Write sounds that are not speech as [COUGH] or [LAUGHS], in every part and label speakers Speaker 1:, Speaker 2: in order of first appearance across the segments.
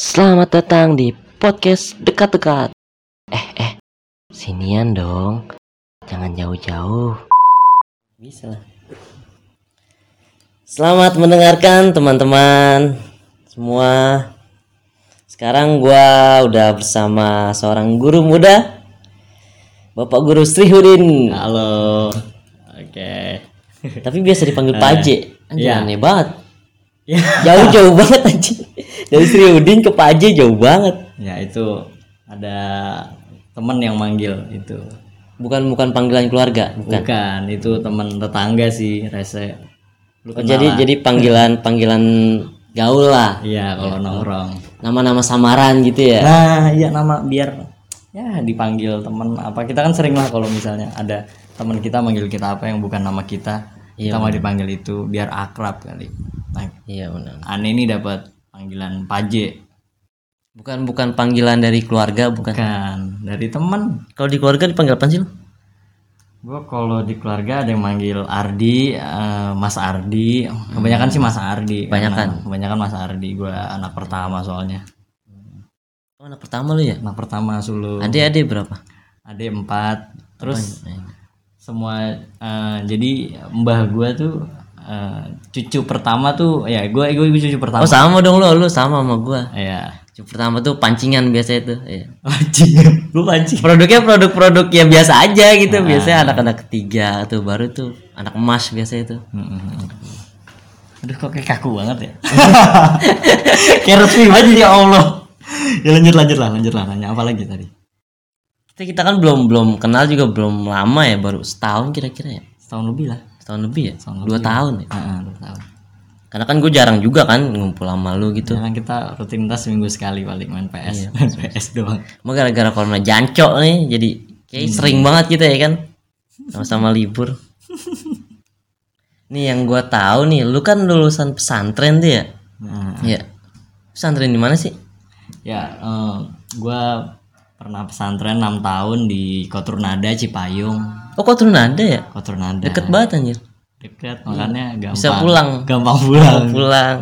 Speaker 1: Selamat datang di podcast dekat-dekat. Eh, eh, sinian dong. Jangan jauh-jauh. Bisa lah. Selamat mendengarkan teman-teman semua. Sekarang gua udah bersama seorang guru muda. Bapak Guru Srihudin.
Speaker 2: Halo. Oke. [LAUGHS]
Speaker 1: Tapi biasa dipanggil Pak Aje. Anjir,
Speaker 2: iya.
Speaker 1: aneh banget. Iya.
Speaker 2: Ya.
Speaker 1: Jauh-jauh banget anjir. Dari Srihudin ke Pak Aje jauh banget.
Speaker 2: Ya itu ada temen yang manggil itu.
Speaker 1: Bukan bukan panggilan keluarga, bukan.
Speaker 2: Bukan, itu temen tetangga sih, rese. Lu
Speaker 1: Oh, jadi jadi panggilan panggilan gaul lah.
Speaker 2: Iya, kalau nongkrong.
Speaker 1: Nama-nama samaran gitu ya.
Speaker 2: Nah, iya nama biar ya dipanggil temen apa kita kan sering lah kalau misalnya ada temen kita manggil kita apa yang bukan nama kita kita mau dipanggil itu biar akrab kali nah
Speaker 1: Iya benar.
Speaker 2: aneh ini dapat panggilan paje
Speaker 1: Bukan bukan panggilan dari keluarga, bukan.
Speaker 2: kan dari temen
Speaker 1: Kalau di keluarga dipanggil apa sih? lu?
Speaker 2: Gue kalau di keluarga ada yang manggil Ardi, eh, Mas Ardi. Kebanyakan sih Mas Ardi. Kebanyakan. Kebanyakan Mas Ardi. Gue anak pertama soalnya.
Speaker 1: Oh, anak pertama lu ya?
Speaker 2: Anak pertama Sulu.
Speaker 1: Adik-adik berapa?
Speaker 2: Ada empat. Terus semua eh, jadi mbah gue tuh eh, cucu pertama tuh ya gue gue cucu pertama.
Speaker 1: Oh, sama dong lu, lu sama sama gua.
Speaker 2: Ya.
Speaker 1: Cucu pertama tuh pancingan biasa itu. Iya.
Speaker 2: Anjing. Gue anjing.
Speaker 1: Produknya produk-produk yang biasa aja gitu. Biasanya anak-anak ketiga tuh baru tuh anak emas biasa itu.
Speaker 2: Aduh kok kayak kaku banget ya. [LAUGHS] kayak resmi banget ya Allah. Ya lanjut lanjut lah lanjut lah nanya apa lagi tadi.
Speaker 1: Kita kita kan belum belum kenal juga belum lama ya, baru setahun kira-kira ya.
Speaker 2: Setahun lebih lah.
Speaker 1: Setahun lebih ya? Dua tahun ya?
Speaker 2: Heeh, dua tahun.
Speaker 1: Karena kan gue jarang juga kan ngumpul sama lu gitu.
Speaker 2: Sekarang kita rutinitas seminggu sekali paling main
Speaker 1: Iya,
Speaker 2: PS. main PS doang.
Speaker 1: Emang gara-gara corona jancok nih, jadi kayak sering banget kita ya kan. Sama-sama libur. nih yang gua tahu nih, lu kan lulusan pesantren tuh ya?
Speaker 2: Nah,
Speaker 1: Iya. Pesantren di mana sih?
Speaker 2: ya eh, gua pernah pesantren 6 tahun di Koturnada Cipayung.
Speaker 1: Oh, kok turun ada ya?
Speaker 2: Koturnada.
Speaker 1: Deket banget anjir.
Speaker 2: Deket, makanya gampang.
Speaker 1: Bisa pulang.
Speaker 2: Gampang pulang.
Speaker 1: Pulang.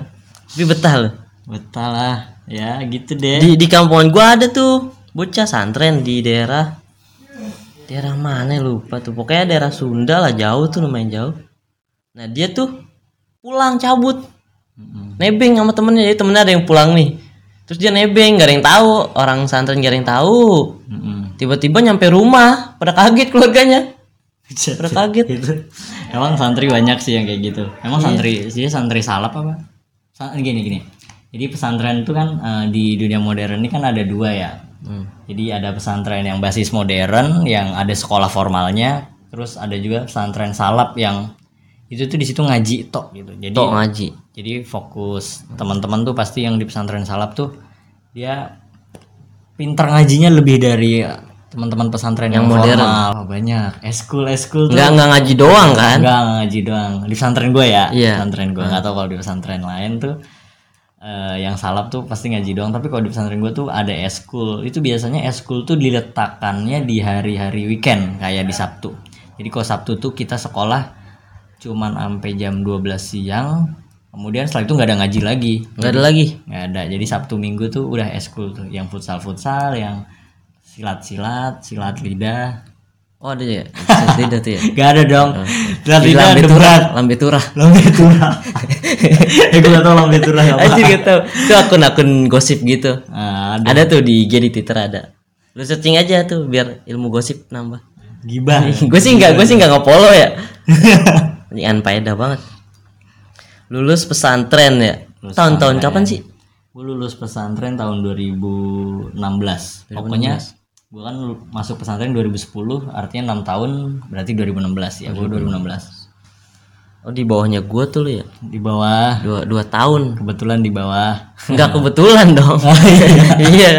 Speaker 1: Tapi betah lu.
Speaker 2: Betal lah. Ya gitu deh.
Speaker 1: Di di kampungan gua ada tuh bocah santren di daerah daerah mana ya, lupa tuh pokoknya daerah Sunda lah jauh tuh lumayan jauh nah dia tuh pulang cabut nebeng sama temennya jadi temennya ada yang pulang nih terus dia nebeng gak ada yang tahu orang santren gak ada yang tahu
Speaker 2: Mm-mm.
Speaker 1: tiba-tiba nyampe rumah pada kaget keluarganya pada kaget
Speaker 2: [LAUGHS] Gitu. Emang santri banyak sih yang kayak gitu.
Speaker 1: Iya.
Speaker 2: Emang santri, jadi santri salap apa? Sa- Gini gini. Jadi pesantren itu kan eh, di dunia modern ini kan ada dua ya.
Speaker 1: Hmm.
Speaker 2: Jadi ada pesantren yang basis modern yang ada sekolah formalnya, terus ada juga pesantren salap yang itu tuh di situ ngaji tok gitu. Jadi
Speaker 1: tok ngaji
Speaker 2: jadi fokus teman-teman tuh pasti yang di pesantren salap tuh dia pinter ngajinya lebih dari teman-teman pesantren yang, modern. Formal. Oh, banyak. Eskul eskul tuh
Speaker 1: nggak nggak ngaji doang kan
Speaker 2: enggak ngaji doang. Di pesantren gue ya.
Speaker 1: Iya.
Speaker 2: Pesantren gue nggak tahu kalau di pesantren lain tuh eh, yang salap tuh pasti ngaji doang tapi kalau di pesantren gue tuh ada eskul itu biasanya eskul tuh diletakkannya di hari-hari weekend kayak di Sabtu jadi kalau Sabtu tuh kita sekolah cuman sampai jam 12 siang kemudian setelah itu nggak ada ngaji lagi
Speaker 1: nggak ada lagi
Speaker 2: nggak ada jadi Sabtu Minggu tuh udah eskul tuh yang futsal futsal yang silat silat silat lidah [LAUGHS]
Speaker 1: oh ada ya tidak tuh ya
Speaker 2: nggak ada dong silat
Speaker 1: Di
Speaker 2: lidah
Speaker 1: lambe
Speaker 2: ada
Speaker 1: turah
Speaker 2: berat
Speaker 1: lambe turah
Speaker 2: lambe [LAUGHS] turah eh gue gak tau lambe turah apa
Speaker 1: Anjir gak tau Itu akun-akun gosip gitu
Speaker 2: Ah, ada
Speaker 1: Ada tuh di IG di Twitter ada Lu searching aja tuh biar ilmu gosip nambah [LAUGHS]
Speaker 2: gibah
Speaker 1: Gue sih gak, gue sih gak nge-follow [LAUGHS] ya Ini unfaedah banget Lulus pesantren ya Tahun-tahun kapan sih?
Speaker 2: gue lulus pesantren tahun 2016, pokoknya gue kan lu- masuk pesantren 2010 artinya 6 tahun berarti 2016 ya gue 2016
Speaker 1: Oh di bawahnya gue tuh lu ya
Speaker 2: di bawah
Speaker 1: Dua, dua [LAUGHS] tahun
Speaker 2: kebetulan di bawah
Speaker 1: Gak kebetulan dong Oh, [LAUGHS] Iya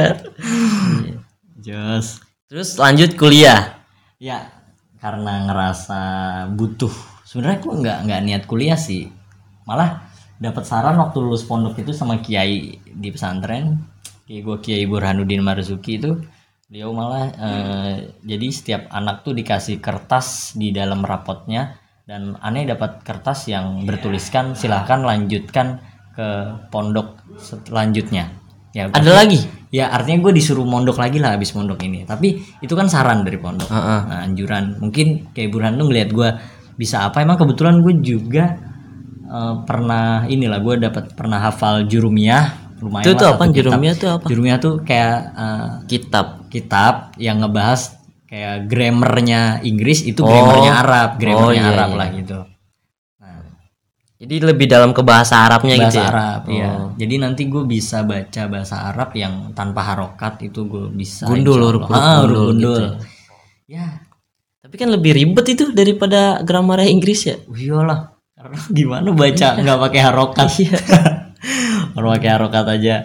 Speaker 2: Jos
Speaker 1: Terus lanjut kuliah
Speaker 2: ya karena ngerasa butuh sebenarnya gue nggak nggak niat kuliah sih malah dapat saran waktu lulus pondok itu sama kiai di pesantren kiai gue kiai Burhanuddin Marzuki itu beliau malah eh, jadi setiap anak tuh dikasih kertas di dalam rapotnya dan aneh dapat kertas yang bertuliskan silahkan lanjutkan ke pondok selanjutnya ya
Speaker 1: Ada lagi?
Speaker 2: ya artinya gue disuruh mondok lagi lah abis mondok ini tapi itu kan saran dari pondok
Speaker 1: Heeh.
Speaker 2: nah, anjuran mungkin kayak Burhan tuh ngeliat gue bisa apa emang kebetulan gue juga eh, pernah inilah gue dapat pernah hafal jurumiyah lumayan
Speaker 1: Itu
Speaker 2: lah
Speaker 1: tuh
Speaker 2: satu
Speaker 1: apa?
Speaker 2: kitab.
Speaker 1: Jurumiyah tuh apa?
Speaker 2: jurumiyah tuh kayak eh,
Speaker 1: Kitab.
Speaker 2: kitab yang ngebahas kayak grammarnya Inggris itu
Speaker 1: Oh.
Speaker 2: grammarnya Arab grammarnya
Speaker 1: Oh, iya,
Speaker 2: Arab
Speaker 1: iya.
Speaker 2: lah gitu nah,
Speaker 1: Jadi lebih dalam ke bahasa Arabnya
Speaker 2: bahasa
Speaker 1: gitu ya.
Speaker 2: Arab
Speaker 1: Oh.
Speaker 2: iya. jadi nanti gue bisa baca bahasa Arab yang tanpa harokat itu gue bisa
Speaker 1: Gundul,
Speaker 2: insya
Speaker 1: huruf-
Speaker 2: Allah.
Speaker 1: huruf
Speaker 2: Ah, huruf
Speaker 1: gundul
Speaker 2: gundul,
Speaker 1: gitu
Speaker 2: ya
Speaker 1: Tapi kan lebih ribet itu daripada grammar Inggris ya.
Speaker 2: Oh, iyalah karena gimana baca nggak pakai harokat
Speaker 1: Iya.
Speaker 2: [LAUGHS] kalau pakai harokat aja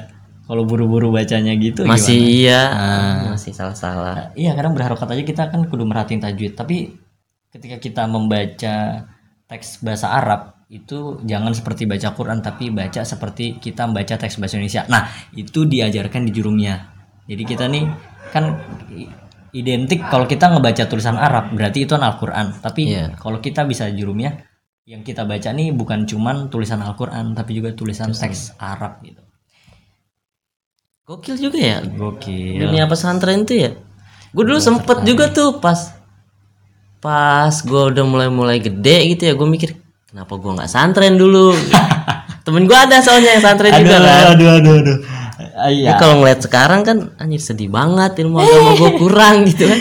Speaker 2: kalau buru-buru bacanya gitu
Speaker 1: Masih
Speaker 2: gimana?
Speaker 1: iya,
Speaker 2: Ah.
Speaker 1: masih salah-salah.
Speaker 2: Nah, iya kadang berharokat aja kita kan kudu merhatiin tajwid tapi ketika kita membaca teks bahasa Arab itu jangan seperti baca Quran tapi baca seperti kita membaca teks bahasa Indonesia nah itu diajarkan di jurumnya jadi kita nih kan i- identik kalau kita ngebaca tulisan Arab berarti itu kan Al-Quran tapi
Speaker 1: Iya.
Speaker 2: kalau kita bisa jurumnya yang kita baca nih bukan cuman tulisan Al-Quran tapi juga tulisan teks Arab gitu
Speaker 1: Gokil juga ya
Speaker 2: gokil
Speaker 1: dunia pesantren tuh ya. Gue dulu sempet juga tuh pas pas gue udah mulai mulai gede gitu ya gue mikir kenapa gue nggak santren [LAUGHS] dulu. Temen gue ada soalnya yang santren juga kan.
Speaker 2: aduh aduh aduh Ah,
Speaker 1: Tapi
Speaker 2: iya
Speaker 1: kalau ngeliat sekarang kan anjir sedih banget ilmu agama [LAUGHS] gue kurang gitu kan.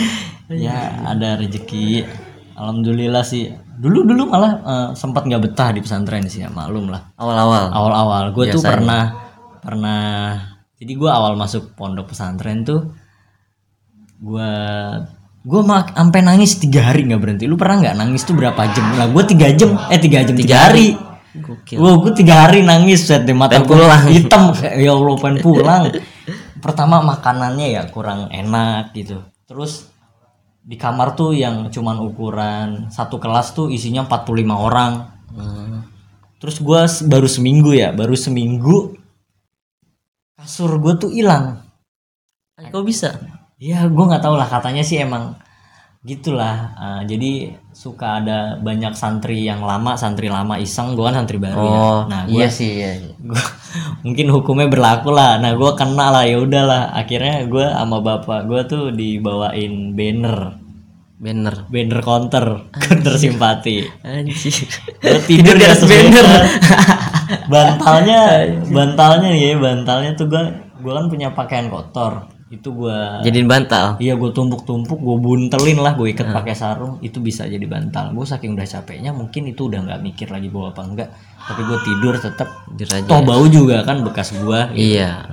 Speaker 2: ya ada rezeki alhamdulillah sih dulu dulu malah eh, sempat nggak betah di pesantren sih ya maklum lah
Speaker 1: Awal-awal.
Speaker 2: awal awal gue tuh pernah pernah jadi gue awal masuk pondok pesantren tuh gue gue mak sampai nangis tiga hari nggak berhenti lu pernah nggak nangis tuh berapa jam nah gue tiga jam eh tiga jam tiga, hari,
Speaker 1: Gokil.
Speaker 2: Gue gue tiga hari nangis set deh mata
Speaker 1: Pengen
Speaker 2: gua
Speaker 1: pulang.
Speaker 2: hitam Kayak, ya Allah pengen pulang. Pertama makanannya ya kurang enak gitu. Terus di kamar tuh yang cuman ukuran satu kelas tuh isinya 45 orang.
Speaker 1: Hmm.
Speaker 2: Terus gua s- baru seminggu ya, baru seminggu kasur gue tuh hilang.
Speaker 1: Eh, Kok bisa?
Speaker 2: Ya gue nggak tahu lah katanya sih emang gitulah. Eh, jadi suka ada banyak santri yang lama, santri lama iseng, gua kan santri baru ya. Nah, gua-
Speaker 1: sih. Iya, iya.
Speaker 2: Gua- [LAUGHS] mungkin hukumnya berlaku lah nah gue kena lah ya udahlah akhirnya gue sama bapak gue tuh dibawain banner
Speaker 1: Banner.
Speaker 2: banner counter counter simpati
Speaker 1: Anjir. [LAUGHS]
Speaker 2: gue tidur
Speaker 1: Tidur
Speaker 2: di
Speaker 1: di
Speaker 2: atas
Speaker 1: atas banner.
Speaker 2: banner
Speaker 1: [LAUGHS]
Speaker 2: bantalnya bantalnya nih ya, bantalnya tuh gue gue kan punya pakaian kotor itu gue
Speaker 1: Jadiin bantal.
Speaker 2: Iya gue tumpuk-tumpuk, gue buntelin lah, gue ikat pakai sarung, itu bisa jadi bantal. Gue saking udah capeknya, mungkin itu udah nggak mikir lagi gue apa enggak. Tapi gue tidur tetap.
Speaker 1: Tidur aja.
Speaker 2: Toh bau juga kan bekas gue.
Speaker 1: Iya.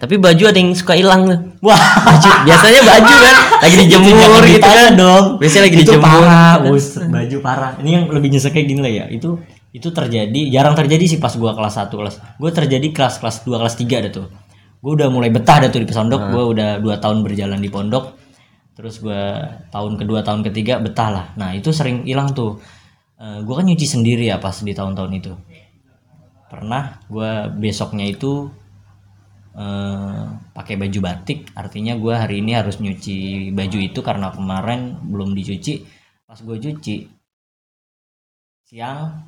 Speaker 1: Tapi baju ada yang suka hilang tuh.
Speaker 2: Wah,
Speaker 1: Baju. [LAUGHS] Biasanya baju kan lagi dijemur gitu kan.
Speaker 2: dong.
Speaker 1: Biasanya lagi
Speaker 2: itu
Speaker 1: dijemur. gitu kan.
Speaker 2: parah, buset, baju parah. Ini yang lebih nyeseknya gini lah ya. Itu itu terjadi jarang terjadi sih pas gua kelas 1 kelas. Gua terjadi kelas kelas 2 kelas 3 ada tuh. Gua udah mulai betah ada tuh di pondok.
Speaker 1: Nah.
Speaker 2: Gua udah 2 tahun berjalan di pondok. Terus gua tahun kedua tahun ketiga betah lah. Nah, itu sering hilang tuh. Eh, gua kan nyuci sendiri ya pas di tahun-tahun itu. Pernah gua besoknya itu eh pakai baju batik artinya gua hari ini harus nyuci baju itu karena kemarin belum dicuci pas gue cuci siang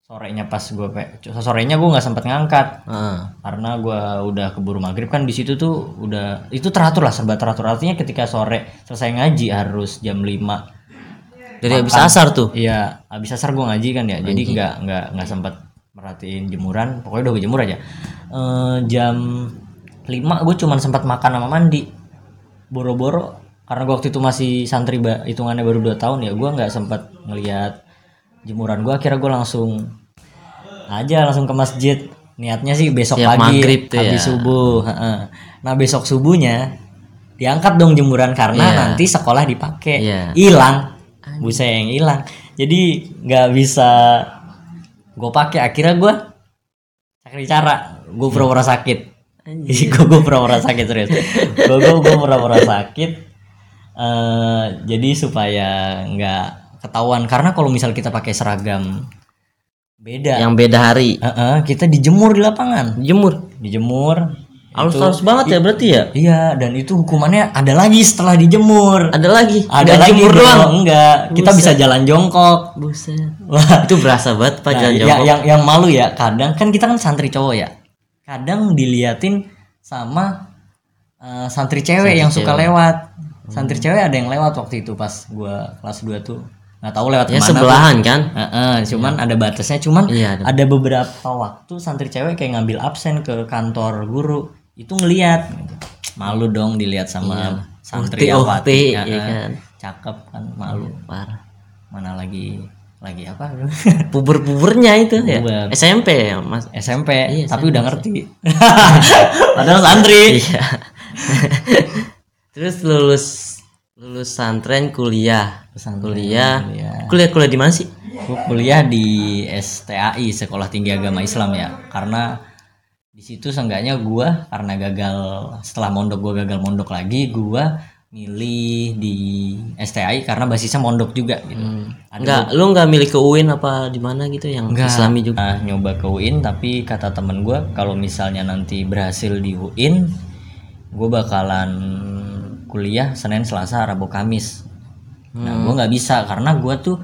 Speaker 2: sorenya pas gue sorenya gue nggak sempet ngangkat
Speaker 1: Heeh.
Speaker 2: karena gua udah keburu maghrib kan di situ tuh udah itu teratur lah serba teratur artinya ketika sore selesai ngaji harus jam 5
Speaker 1: Dari habis asar tuh.
Speaker 2: Iya, abis asar gue ngaji kan ya, jadi nggak nggak nggak sempat merhatiin jemuran. Pokoknya udah gue jemur aja. Eh, jam 5 gue cuman sempat makan sama mandi. Boro-boro karena gue waktu itu masih santri ba- hitungannya baru 2 tahun ya, gue nggak sempat ngelihat jemuran gue. Akhirnya gue langsung aja langsung ke masjid. Niatnya sih besok
Speaker 1: Tiap
Speaker 2: pagi
Speaker 1: maghrib tuh
Speaker 2: habis
Speaker 1: ya.
Speaker 2: subuh. heeh. Nah besok subuhnya diangkat dong jemuran karena
Speaker 1: Iya.
Speaker 2: nanti sekolah dipakai
Speaker 1: Iya.
Speaker 2: hilang busa yang hilang jadi nggak bisa gue pakai akhirnya gue cari cara
Speaker 1: Iya.
Speaker 2: gue pura-pura sakit [LAUGHS] gue gue pura-pura sakit serius gue gue gue pura-pura sakit Eh, jadi supaya nggak ketahuan karena kalau misal kita pakai seragam beda
Speaker 1: Yang beda hari.
Speaker 2: Eh, eh, kita dijemur di lapangan
Speaker 1: Jemur.
Speaker 2: dijemur
Speaker 1: Halus
Speaker 2: itu-
Speaker 1: halus banget ya berarti ya.
Speaker 2: iya dan itu hukumannya ada lagi setelah dijemur
Speaker 1: Ada lagi. gitu.
Speaker 2: ada
Speaker 1: Nggak
Speaker 2: lagi
Speaker 1: jemur
Speaker 2: bro.
Speaker 1: doang.
Speaker 2: enggak kita bisa jalan jongkok
Speaker 1: Buset. iya,
Speaker 2: wah
Speaker 1: [LAUGHS] Itu berasa banget Pak
Speaker 2: nah,
Speaker 1: jalan
Speaker 2: ya- yang yang malu ya kadang kan kita kan santri cowok ya kadang diliatin sama eh, santri cewek yang suka lewat
Speaker 1: Hmm.
Speaker 2: santri cewek ada yang lewat waktu itu pas gua kelas 2 tuh nggak tahu lewat
Speaker 1: ya
Speaker 2: kemana
Speaker 1: sebelahan kan
Speaker 2: Heeh, cuman ada batasnya cuman
Speaker 1: Iya, ada-
Speaker 2: ada beberapa waktu santri cewek kayak ngambil absen ke kantor guru itu ngelihat malu dong dilihat
Speaker 1: Iya.
Speaker 2: sama
Speaker 1: Ukti-ukti,
Speaker 2: santri awati
Speaker 1: iya
Speaker 2: Heeh.
Speaker 1: kan.
Speaker 2: cakep kan malu
Speaker 1: parah
Speaker 2: mana lagi lagi apa [LAUGHS]
Speaker 1: puber-pubernya itu ya
Speaker 2: Puber.
Speaker 1: SMP ya mas
Speaker 2: SMP
Speaker 1: Iya,
Speaker 2: tapi udah [LAUGHS] ngerti padahal santri
Speaker 1: iya [LAUGHS] terus lulus lulus santren kuliah
Speaker 2: Pesantren,
Speaker 1: kuliah
Speaker 2: kuliah.
Speaker 1: kuliah kuliah di mana sih
Speaker 2: Gue kuliah di STAI Sekolah Tinggi Agama Islam ya karena di situ seenggaknya gua karena gagal setelah mondok gua gagal mondok lagi gua milih di STAI karena basisnya mondok juga gitu Ada
Speaker 1: Enggak, lu enggak milih ke UIN apa di mana gitu yang
Speaker 2: Nggak.
Speaker 1: Islami juga.
Speaker 2: Nah, nyoba ke UIN tapi kata temen gue kalau misalnya nanti berhasil di UIN gue bakalan kuliah Senin Selasa Rabu Kamis nah gue nggak bisa karena gue tuh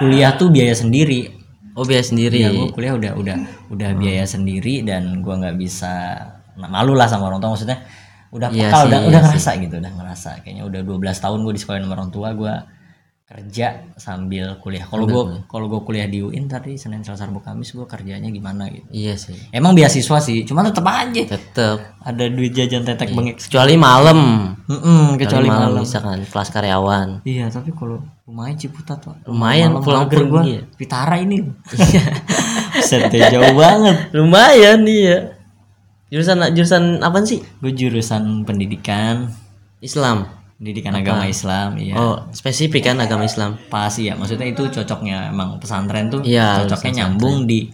Speaker 2: kuliah tuh biaya sendiri
Speaker 1: Oh, biaya sendiri.
Speaker 2: ya gue kuliah udah udah udah biaya sendiri dan gue nggak bisa nah, malu lah sama orang tua maksudnya udah
Speaker 1: Iya
Speaker 2: pekal,
Speaker 1: sih,
Speaker 2: udah
Speaker 1: iya
Speaker 2: udah
Speaker 1: sih.
Speaker 2: ngerasa gitu udah ngerasa kayaknya udah 12 tahun gue di sekolah sama orang tua gue kerja sambil kuliah kalau gue kalau gue kuliah di UIN tadi Senin Selasa Rabu Kamis gue kerjanya gimana gitu
Speaker 1: Iya sih.
Speaker 2: emang beasiswa sih cuma tetap aja
Speaker 1: Tetep
Speaker 2: ada duit jajan
Speaker 1: Iya.
Speaker 2: tetek bengek
Speaker 1: kecuali malam.
Speaker 2: Mm-mm, kecuali malam
Speaker 1: bisa kan kelas karyawan.
Speaker 2: iya tapi kalau lumayan Ciputat Pak.
Speaker 1: Lumayan
Speaker 2: Malam
Speaker 1: pulang
Speaker 2: mager
Speaker 1: pergi
Speaker 2: gua. Pitara
Speaker 1: [LAUGHS]
Speaker 2: ini Iya. setnya jauh banget
Speaker 1: Lumayan iya. Jurusan jurusan apa sih?
Speaker 2: gue jurusan pendidikan
Speaker 1: Islam.
Speaker 2: pendidikan agama Islam iya
Speaker 1: Oh, spesifik kan agama Islam.
Speaker 2: pas iya maksudnya itu cocoknya emang pesantren tuh
Speaker 1: Iya,
Speaker 2: cocoknya nyambung di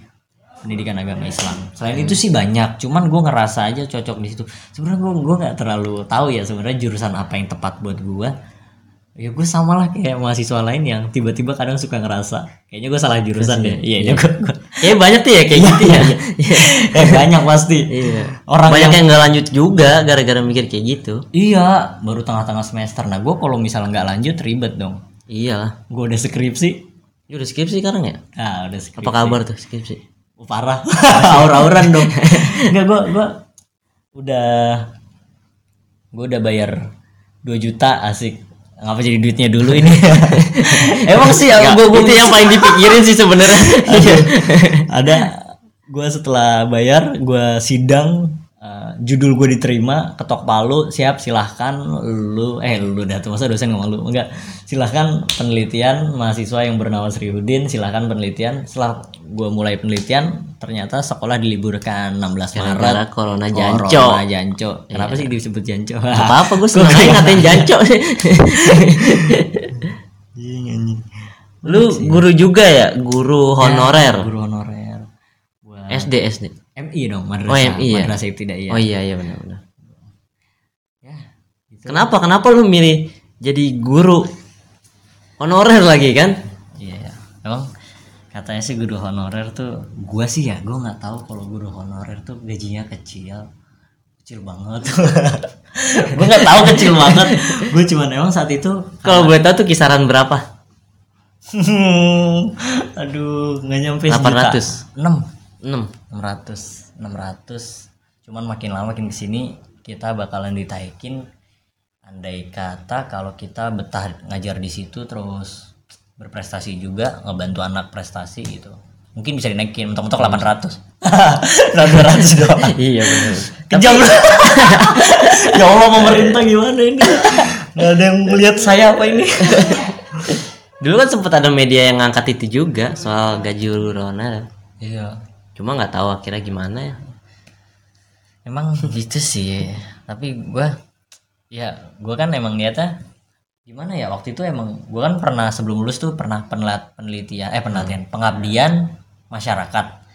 Speaker 2: pendidikan agama Islam selain itu sih banyak cuman gue ngerasa aja cocok di situ sebenarnya gue gue nggak terlalu tahu ya sebenarnya jurusan apa yang tepat buat gue ya gue samalah kayak mahasiswa lain yang tiba-tiba kadang suka ngerasa kayaknya gue salah jurusan deh iya ini gue [LAUGHS] gue-
Speaker 1: Kayaknya banyak tuh ya kayak
Speaker 2: Iya,
Speaker 1: gitu ya.
Speaker 2: Eh, banyak pasti
Speaker 1: Iya.
Speaker 2: orang
Speaker 1: banyak
Speaker 2: yang
Speaker 1: yang nggak lanjut juga gara-gara mikir kayak gitu.
Speaker 2: iya baru tengah-tengah semester nah gue kalau misalnya nggak lanjut ribet dong
Speaker 1: Iyalah.
Speaker 2: gue udah skripsi
Speaker 1: Lu udah skripsi sekarang ya?
Speaker 2: ah udah skripsi
Speaker 1: Apa kabar tuh skripsi?
Speaker 2: Oh, parah [LAUGHS] aur-auran dong enggak gua gua udah gua udah bayar 2 juta asik ngapa jadi duitnya dulu ini emang sih
Speaker 1: Nggak,
Speaker 2: gua, gua
Speaker 1: itu yang paling dipikirin sih
Speaker 2: [LAUGHS]
Speaker 1: sebenarnya. Iya.
Speaker 2: ada gua setelah bayar gua sidang eh, judul gue diterima ketok palu siap silahkan lu eh lu dah tuh masa dosen ngomong lu enggak silahkan penelitian mahasiswa yang bernama Sriudin silahkan penelitian setelah gue mulai penelitian ternyata sekolah diliburkan 16 Maret
Speaker 1: Gara-gara corona
Speaker 2: Corona,
Speaker 1: janco. Iya.
Speaker 2: janco kenapa sih disebut janco [LAUGHS] ya.
Speaker 1: apa-apa gue seneng aja ngatain jancok lu guru juga ya guru honorer
Speaker 2: guru honorer Gua-
Speaker 1: SD SD
Speaker 2: MI dong madrasah
Speaker 1: Oh, MI ya?
Speaker 2: madrasah tidak
Speaker 1: oh iya iya benar-benar
Speaker 2: ya gitu.
Speaker 1: kenapa kenapa lu milih jadi guru honorer lagi kan
Speaker 2: Iya, emang katanya sih guru honorer tuh gua sih ya gua nggak tahu kalau guru honorer tuh gajinya kecil kecil banget [LAUGHS] gua nggak tahu kecil [LAUGHS] banget gua cuman emang saat itu [LAUGHS]
Speaker 1: kalau boleh tahu tuh kisaran berapa
Speaker 2: aduh nggak nyampe
Speaker 1: 800.
Speaker 2: enam
Speaker 1: 6
Speaker 2: enam ratus cuman makin lama makin kesini kita bakalan ditaikin andai kata kalau kita betah ngajar di situ terus berprestasi juga ngebantu anak prestasi gitu mungkin bisa dinaikin mentok-mentok [LAUGHS] 800 800 doang
Speaker 1: iya benar
Speaker 2: kejam [LAUGHS] ya Allah pemerintah gimana ini nggak ada yang melihat saya apa ini
Speaker 1: dulu kan sempat ada media yang ngangkat itu juga soal gaji guru honorer
Speaker 2: iya
Speaker 1: cuma nggak tahu akhirnya gimana ya
Speaker 2: emang gitu sih tapi gua ya gua kan emang niatnya gimana ya waktu itu emang gua kan pernah sebelum lulus tuh pernah penelat penelitian eh penelitian pengabdian masyarakat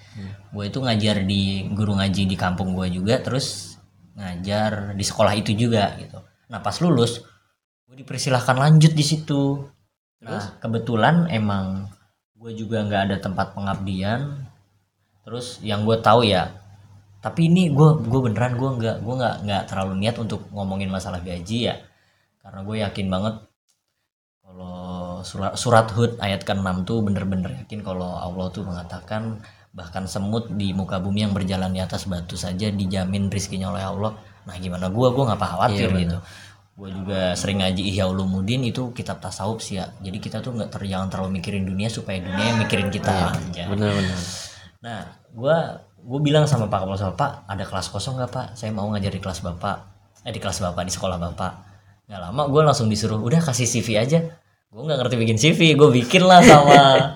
Speaker 2: Gua itu ngajar di guru ngaji di kampung gua juga terus ngajar di sekolah itu juga gitu nah pas lulus gue dipersilahkan lanjut di situ nah kebetulan emang gue juga nggak ada tempat pengabdian terus yang gue tahu ya tapi ini gue gue beneran gue nggak gue nggak nggak terlalu niat untuk ngomongin masalah gaji ya karena gue yakin banget kalau surat surat hud ayat ke-6 tuh bener-bener yakin kalau Allah tuh mengatakan bahkan semut di muka bumi yang berjalan di atas batu saja dijamin rizkinya oleh Allah nah gimana gua gua nggak khawatir gitu gua juga sering ngaji Ihya Ulumuddin itu kitab tasawuf sih ya jadi kita tuh nggak ter jangan terlalu mikirin dunia supaya dunia yang mikirin kita aja
Speaker 1: benar-benar
Speaker 2: Nah, gua gue bilang sama Pak Kapolres Pak, ada kelas kosong nggak Pak? Saya mau ngajar di kelas Bapak. Eh di kelas Bapak di sekolah Bapak. Nggak lama gue langsung disuruh, udah kasih CV aja. Gue nggak ngerti bikin CV, gue bikin lah sama [LAUGHS]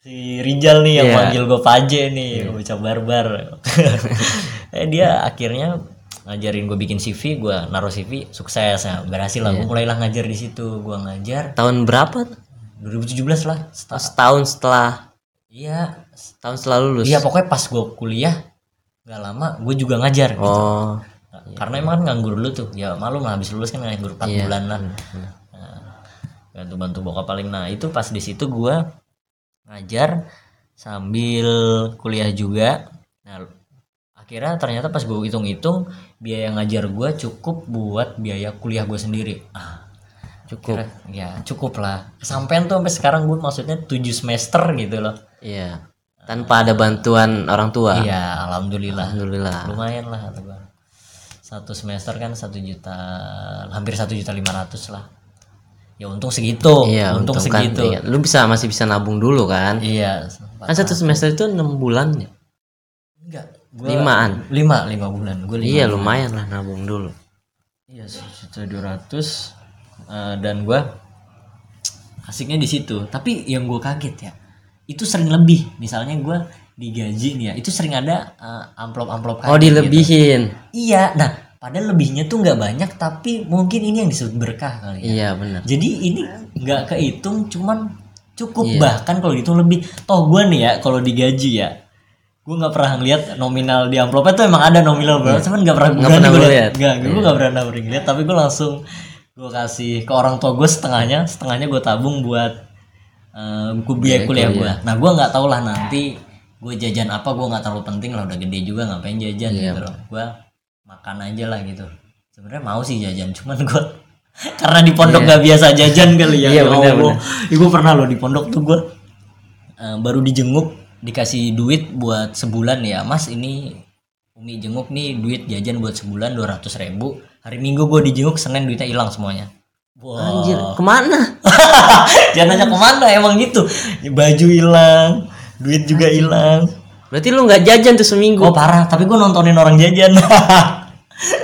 Speaker 2: si Rijal nih yang
Speaker 1: Iya.
Speaker 2: manggil gue Paje nih, bocah barbar. Iya. [LAUGHS] eh dia akhirnya ngajarin gue bikin CV, gue naruh CV, sukses ya, berhasil lah. Gue mulailah ngajar di situ, gue ngajar
Speaker 1: tahun berapa tuh?
Speaker 2: 2017 lah. seta-
Speaker 1: setahun setelah
Speaker 2: Iya,
Speaker 1: tahun setelah lulus
Speaker 2: Iya pokoknya pas gue kuliah nggak lama gue juga ngajar gitu.
Speaker 1: oh
Speaker 2: Nah, karena emang kan nganggur dulu tuh ya malum lah habis lulus kan nganggur 4
Speaker 1: Iya.
Speaker 2: bulan lah bantu bantu bokap paling nah itu pas di situ gue ngajar sambil kuliah juga nah akhirnya ternyata pas gue hitung-hitung biaya ngajar gue cukup buat biaya kuliah gue sendiri ah
Speaker 1: cukup
Speaker 2: ya cukup lah sampai tuh sampai sekarang gue maksudnya 7 semester gitu loh
Speaker 1: iya tanpa ada bantuan orang tua
Speaker 2: iya alhamdulillah
Speaker 1: alhamdulillah
Speaker 2: lumayan lah kata gua. satu semester kan satu juta hampir satu juta lima ratus lah ya untung segitu
Speaker 1: iya
Speaker 2: untung,
Speaker 1: untung kan
Speaker 2: segitu
Speaker 1: iya. lu bisa masih bisa nabung dulu kan
Speaker 2: iya
Speaker 1: kan satu semester itu enam bulan ya
Speaker 2: enggak gua
Speaker 1: limaan
Speaker 2: lima lima bulan gue lima
Speaker 1: iya lumayan lah nabung dulu
Speaker 2: iya satu dua ratus eh, dan gua asiknya di situ tapi yang gue kaget ya itu sering lebih misalnya gua digaji nih ya itu sering ada eh,
Speaker 1: oh
Speaker 2: amplop-amplop kaget gitu.
Speaker 1: dilebihin
Speaker 2: Iya, nah padahal lebihnya tuh nggak banyak tapi mungkin ini yang disebut berkah kali ya.
Speaker 1: iya benar
Speaker 2: Jadi ini nggak kehitung cuman cukup
Speaker 1: Iya.
Speaker 2: bahkan kalau dihitung lebih. Toh gue nih ya kalau digaji ya gue nggak pernah ngeliat nominal di amplopnya tuh emang ada nominal berapa, cuman nggak pernah
Speaker 1: Iya. Nggak
Speaker 2: berani
Speaker 1: pernah
Speaker 2: gua
Speaker 1: gua
Speaker 2: liat.
Speaker 1: liat.
Speaker 2: Nggak, gue nggak pernah berani ngeliat, tapi gue langsung gue kasih ke orang tua gue setengahnya, setengahnya gue tabung buat eh
Speaker 1: Iya,
Speaker 2: buku biaya kuliah gue. Nah gue nggak tahu lah nanti gue jajan apa, gue nggak terlalu penting lah udah gede juga ngapain jajan
Speaker 1: Iya.
Speaker 2: gitu loh. Gue makan aja lah gitu. Sebenarnya mau sih jajan, cuman gue [LAUGHS] karena di pondok nggak biasa jajan kali ya.
Speaker 1: Iya,
Speaker 2: Ya
Speaker 1: benar,
Speaker 2: Allah. Ya, gue pernah loh di pondok tuh gue baru dijenguk dikasih duit buat sebulan ya mas ini umi jenguk nih duit jajan buat sebulan 200 ribu hari minggu gue dijenguk senin duitnya hilang semuanya Wah, [LAUGHS]
Speaker 1: anjir kemana
Speaker 2: jangan nanya kemana emang gitu baju hilang duit juga hilang
Speaker 1: berarti lu nggak jajan tuh seminggu
Speaker 2: oh parah tapi gue nontonin orang jajan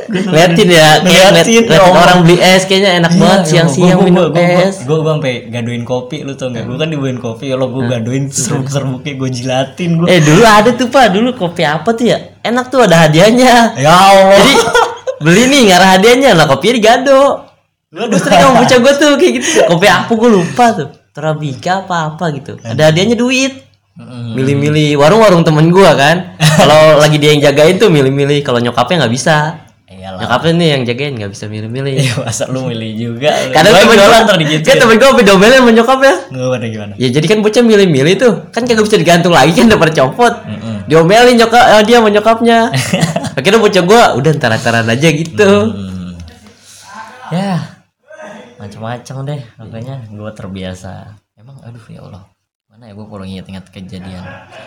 Speaker 2: Gua
Speaker 1: Liatin ya, kayak
Speaker 2: Ngeliatin, Iya,
Speaker 1: ngeliat- ngeliat
Speaker 2: ya Allah.
Speaker 1: orang beli es kayaknya enak banget siang-siang minum es.
Speaker 2: gue gue sampai gadoin kopi lu tau nggak gue kan dibawain kopi ya lo gue gadoin serbuk-serbuknya gue jilatin gue
Speaker 1: Eh dulu ada tuh pak, dulu kopi apa tuh ya? Enak tuh ada hadiahnya.
Speaker 2: ya Allah [LAUGHS]
Speaker 1: Jadi beli nih nggak ada hadiahnya lah kopinya digado. Lu sering sama bocah gue tuh kayak gitu. Kopi apa gue lupa tuh. Torabika apa apa gitu. Ada hadiahnya duit.
Speaker 2: Mm-mm.
Speaker 1: Milih-milih warung-warung temen gua kan.
Speaker 2: [LAUGHS]
Speaker 1: Kalau lagi dia yang jagain tuh milih-milih. Kalau nyokapnya nggak bisa.
Speaker 2: iyalah
Speaker 1: Nyokapnya nih yang jagain nggak bisa
Speaker 2: [LAUGHS]
Speaker 1: milih-milih.
Speaker 2: ya masa lu milih juga lu.
Speaker 1: Kadang
Speaker 2: Gua
Speaker 1: temen gue
Speaker 2: doang
Speaker 1: kan
Speaker 2: ntar digituin.
Speaker 1: temen gue sampai domelnya sama nyokapnya.
Speaker 2: gimana gimana
Speaker 1: Ya jadi kan bocah milih-milih tuh kan kagak bisa digantung lagi kan udah pada copot.
Speaker 2: Mm-mm.
Speaker 1: Diomelin nyokap eh, dia sama nyokapnya.
Speaker 2: [LAUGHS]
Speaker 1: Akhirnya bocah gua udah ntar-ntaran aja gitu.
Speaker 2: Hmm. ya macam-macam deh makanya gue terbiasa emang aduh ya Allah mana ya gue kalau ingat-ingat kejadian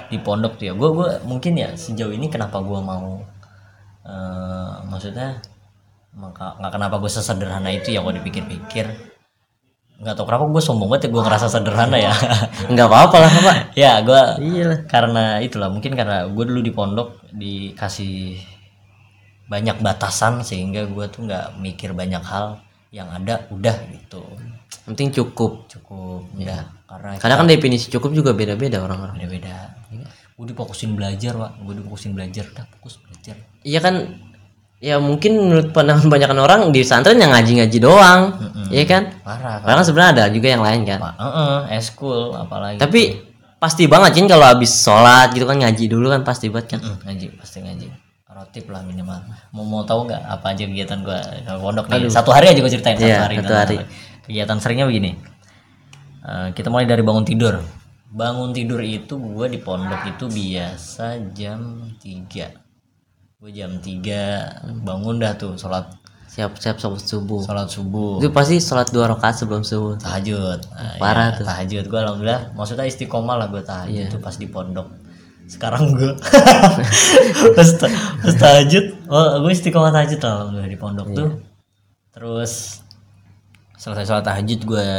Speaker 2: di pondok tuh ya gue gua mungkin ya sejauh ini kenapa gue mau eh maksudnya maka- nggak kenapa gue sesederhana itu ya kalau dipikir-pikir nggak tau kenapa gue sombong banget ya gue ngerasa sederhana ya
Speaker 1: Enggak apa-apa lah, Pak.
Speaker 2: ya gue
Speaker 1: Iyalah.
Speaker 2: karena itulah mungkin karena gue dulu di pondok dikasih banyak batasan sehingga gue tuh nggak mikir banyak hal yang ada udah gitu
Speaker 1: Yang Penting cukup.
Speaker 2: cukup udah karena
Speaker 1: Karena kan definisi cukup juga beda-beda orang-orang.
Speaker 2: beda beda gue difokusin belajar pak gue difokusin belajar udah fokus belajar
Speaker 1: Iya kan ya mungkin menurut pandangan banyak orang di pesantren yang ngaji-ngaji doang. Iya kan?
Speaker 2: parah
Speaker 1: Padahal kan sebenarnya ada juga yang lain kan.
Speaker 2: pak Heeh, eskul apalagi
Speaker 1: Tapi pasti banget Jin kalau habis sholat gitu kan ngaji dulu kan pasti banget kan.
Speaker 2: Mm, ngaji pasti ngaji rotip lah minimal mau mau tahu nggak apa aja kegiatan gua kalau pondok nih satu hari aja gua ceritain satu
Speaker 1: Iya,
Speaker 2: hari
Speaker 1: satu
Speaker 2: tentang
Speaker 1: hari.
Speaker 2: apa. kegiatan seringnya begini Eh, kita mulai dari bangun tidur bangun tidur itu gua di pondok itu biasa jam 3 gua jam 3 bangun dah tuh sholat
Speaker 1: Siap-siap sholat subuh.
Speaker 2: sholat subuh
Speaker 1: Itu pasti sholat dua rakaat sebelum subuh.
Speaker 2: tahajud Nah,
Speaker 1: Parah Iya.
Speaker 2: iya, tahajud gue alhamdulillah maksudnya istiqomah lah gue tahajud [LAUGHS] tuh pas di pondok sekarang gue pas, ta- pas tahajud oh gue istiqomah tahajud lah alhamdulillah di pondok tuh
Speaker 1: Iya.
Speaker 2: terus selesai sholat tahajud gue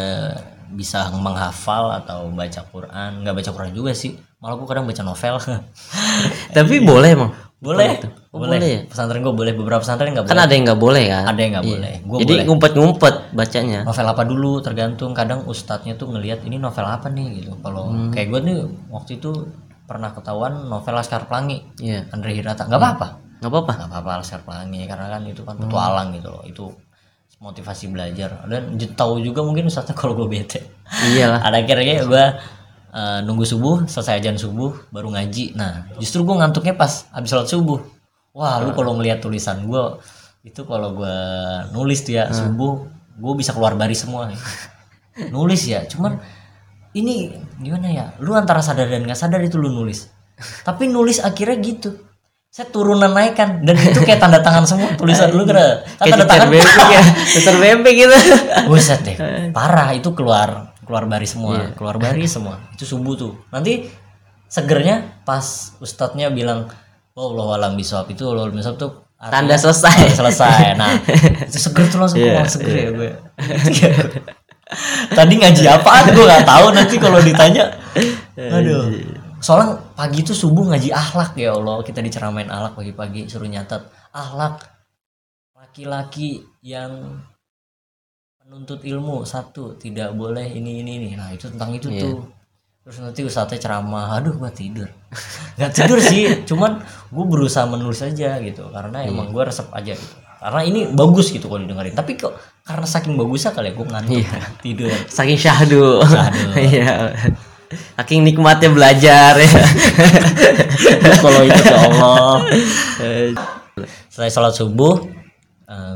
Speaker 2: bisa menghafal atau baca Quran nggak baca Quran juga sih malah gue kadang baca novel [LAUGHS]
Speaker 1: [LAUGHS] Tapi boleh emang.
Speaker 2: Iya. boleh
Speaker 1: Oh, boleh ya?
Speaker 2: pesantren gue boleh beberapa pesantren nggak
Speaker 1: Kan
Speaker 2: boleh
Speaker 1: ada yang nggak boleh kan?
Speaker 2: ada yang nggak boleh gue
Speaker 1: Jadi
Speaker 2: boleh Oh.
Speaker 1: ngumpet-ngumpet bacanya.
Speaker 2: novel apa dulu tergantung kadang ustadznya tuh ngelihat ini novel apa nih gitu kalau kayak gue nih waktu itu pernah ketahuan novel Laskar Pelangi
Speaker 1: Iya.
Speaker 2: Andre Hirata nggak apa-apa
Speaker 1: Nggak
Speaker 2: [LAUGHS]
Speaker 1: apa-apa.
Speaker 2: nggak apa-apa Laskar Pelangi karena kan itu kan petualang gitu loh itu motivasi belajar dan j- tahu juga mungkin ustadznya [LAUGHS] kalau gue bete
Speaker 1: Iyalah.
Speaker 2: ada akhirnya gue eh, nunggu subuh selesai ajan subuh baru ngaji nah justru gue ngantuknya pas habis sholat subuh wah lu kalau ngelihat tulisan gue itu kalau gue nulis tuh ya subuh gue bisa keluar baris semua nulis ya cuman ini gimana ya lu antara sadar dan nggak sadar itu lu nulis tapi nulis akhirnya gitu saya turunan naikkan dan itu kayak tanda tangan semua tulisan lu kira kan
Speaker 1: Kayak
Speaker 2: tanda
Speaker 1: Dr.
Speaker 2: tangan
Speaker 1: Bebek
Speaker 2: [LAUGHS]
Speaker 1: ya. Dr. Bebek gitu.
Speaker 2: Buset deh, parah itu keluar keluar baris semua, keluar baris semua. Itu subuh tuh. Nanti segernya pas ustadznya bilang, "Oh, Allah alam bisawab itu Allah alam bisawab tuh
Speaker 1: Tanda
Speaker 2: artinya [LAUGHS]
Speaker 1: selesai.
Speaker 2: tanda selesai." Nah, itu seger tuh langsung keluar seger ya gue. [LAUGHS] Tadi ngaji apaan gue nggak tahu nanti kalau ditanya. Aduh. Soalnya pagi tuh subuh ngaji akhlak ya Allah, kita diceramain akhlak pagi-pagi suruh nyatat akhlak laki-laki yang menuntut ilmu satu tidak boleh ini ini ini nah itu tentang itu
Speaker 1: Iya.
Speaker 2: tuh terus nanti ustadznya ceramah aduh gua tidur [LAUGHS] nggak tidur sih cuman gue berusaha menulis aja gitu karena emang gua resep aja gitu karena ini bagus gitu kalau didengerin tapi kok karena saking bagusnya kali ya gue ngantuk [LAUGHS] tidur
Speaker 1: Saking syahdu.
Speaker 2: Syahdu.
Speaker 1: [LAUGHS] Iya. Saking nikmatnya belajar ya.
Speaker 2: kalau itu ya Allah setelah sholat subuh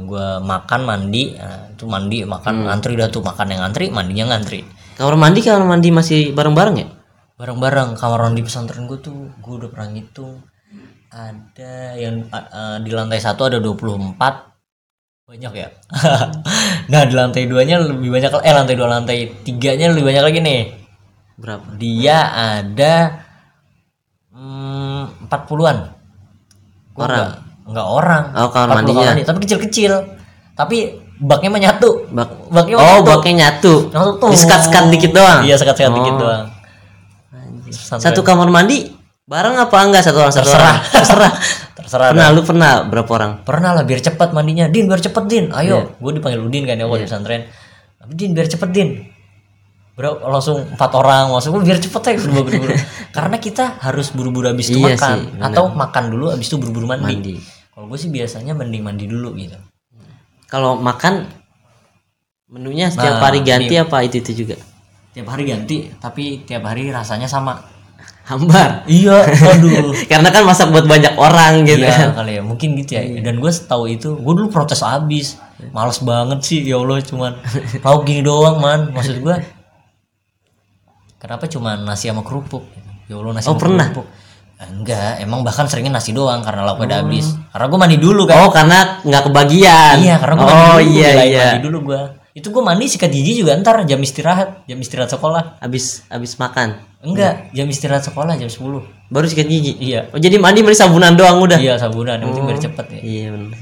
Speaker 2: gue makan mandi eh, itu mandi makan antri dah tuh makan yang antri mandinya ngantri
Speaker 1: [LAUGHS] Kamar mandi kamar mandi masih bareng-bareng ya?
Speaker 2: bareng-bareng kamar mandi pesantren gue tuh gue udah pernah ngitung ada yang uh, uh, di lantai satu ada 24 banyak ya [LAUGHS] nah di lantai duanya lebih banyak eh lantai dua lantai tiganya lebih banyak lagi nih
Speaker 1: Berapa?
Speaker 2: dia ada mm, empat puluhan
Speaker 1: Orang?
Speaker 2: nggak orang
Speaker 1: Oh, kamar
Speaker 2: 40
Speaker 1: mandinya.
Speaker 2: mandi, tapi kecil-kecil tapi baknya menyatu
Speaker 1: Bak.
Speaker 2: baknya
Speaker 1: Oh,
Speaker 2: menyatu.
Speaker 1: baknya nyatu.
Speaker 2: Langsung tuh.
Speaker 1: Disekat-sekat dikit doang.
Speaker 2: iya sekat-sekat dikit
Speaker 1: Oh.
Speaker 2: doang
Speaker 1: Satu kamar mandi bareng apa enggak satu orang satu
Speaker 2: terserah
Speaker 1: orang?
Speaker 2: [LAUGHS] terserah terserah
Speaker 1: Pernah lu pernah berapa orang?
Speaker 2: pernah lah biar cepat mandinya din biar cepet din ayo
Speaker 1: Iya.
Speaker 2: gue dipanggil udin kan ya kalau di pesantren din biar cepet din bro langsung empat orang langsung "Gua biar cepet ya
Speaker 1: [LAUGHS]
Speaker 2: buru-buru karena kita harus buru-buru habis itu
Speaker 1: Iya
Speaker 2: makan
Speaker 1: sih,
Speaker 2: atau makan dulu habis itu buru-buru mandi,
Speaker 1: Mandi.
Speaker 2: kalau gue sih biasanya mending mandi dulu gitu
Speaker 1: Kalau makan menunya setiap
Speaker 2: Nah,
Speaker 1: hari ganti apa itu itu juga?
Speaker 2: tiap hari ganti tapi tiap hari rasanya sama
Speaker 1: Hambar. [LAUGHS]
Speaker 2: iya [LAUGHS] waduh
Speaker 1: Karena kan masak buat banyak orang gitu.
Speaker 2: Iya kali ya, mungkin gitu ya.
Speaker 1: Iya.
Speaker 2: Dan gue setahu itu, gue dulu protes abis, males banget sih ya Allah cuman lauk gini doang man. Maksud gue, kenapa cuman nasi sama kerupuk? Ya Allah nasi
Speaker 1: Oh,
Speaker 2: sama
Speaker 1: pernah?
Speaker 2: kerupuk. Eh, Enggak, emang bahkan seringnya nasi doang karena lauknya udah habis. Karena gue mandi dulu kan.
Speaker 1: [LAUGHS] Oh, karena nggak kebagian.
Speaker 2: Iya, karena gue mandi
Speaker 1: Oh,
Speaker 2: dulu.
Speaker 1: iya
Speaker 2: belain
Speaker 1: iya.
Speaker 2: Mandi dulu gue. Itu gue mandi sikat gigi juga ntar jam istirahat, jam istirahat sekolah.
Speaker 1: Habis habis makan.
Speaker 2: Enggak,
Speaker 1: Iya.
Speaker 2: jam istirahat sekolah jam 10.
Speaker 1: Baru sikat gigi.
Speaker 2: Iya.
Speaker 1: Oh, jadi mandi mandi sabunan doang udah.
Speaker 2: Iya, sabunan, yang penting biar cepet ya.
Speaker 1: Iya, benar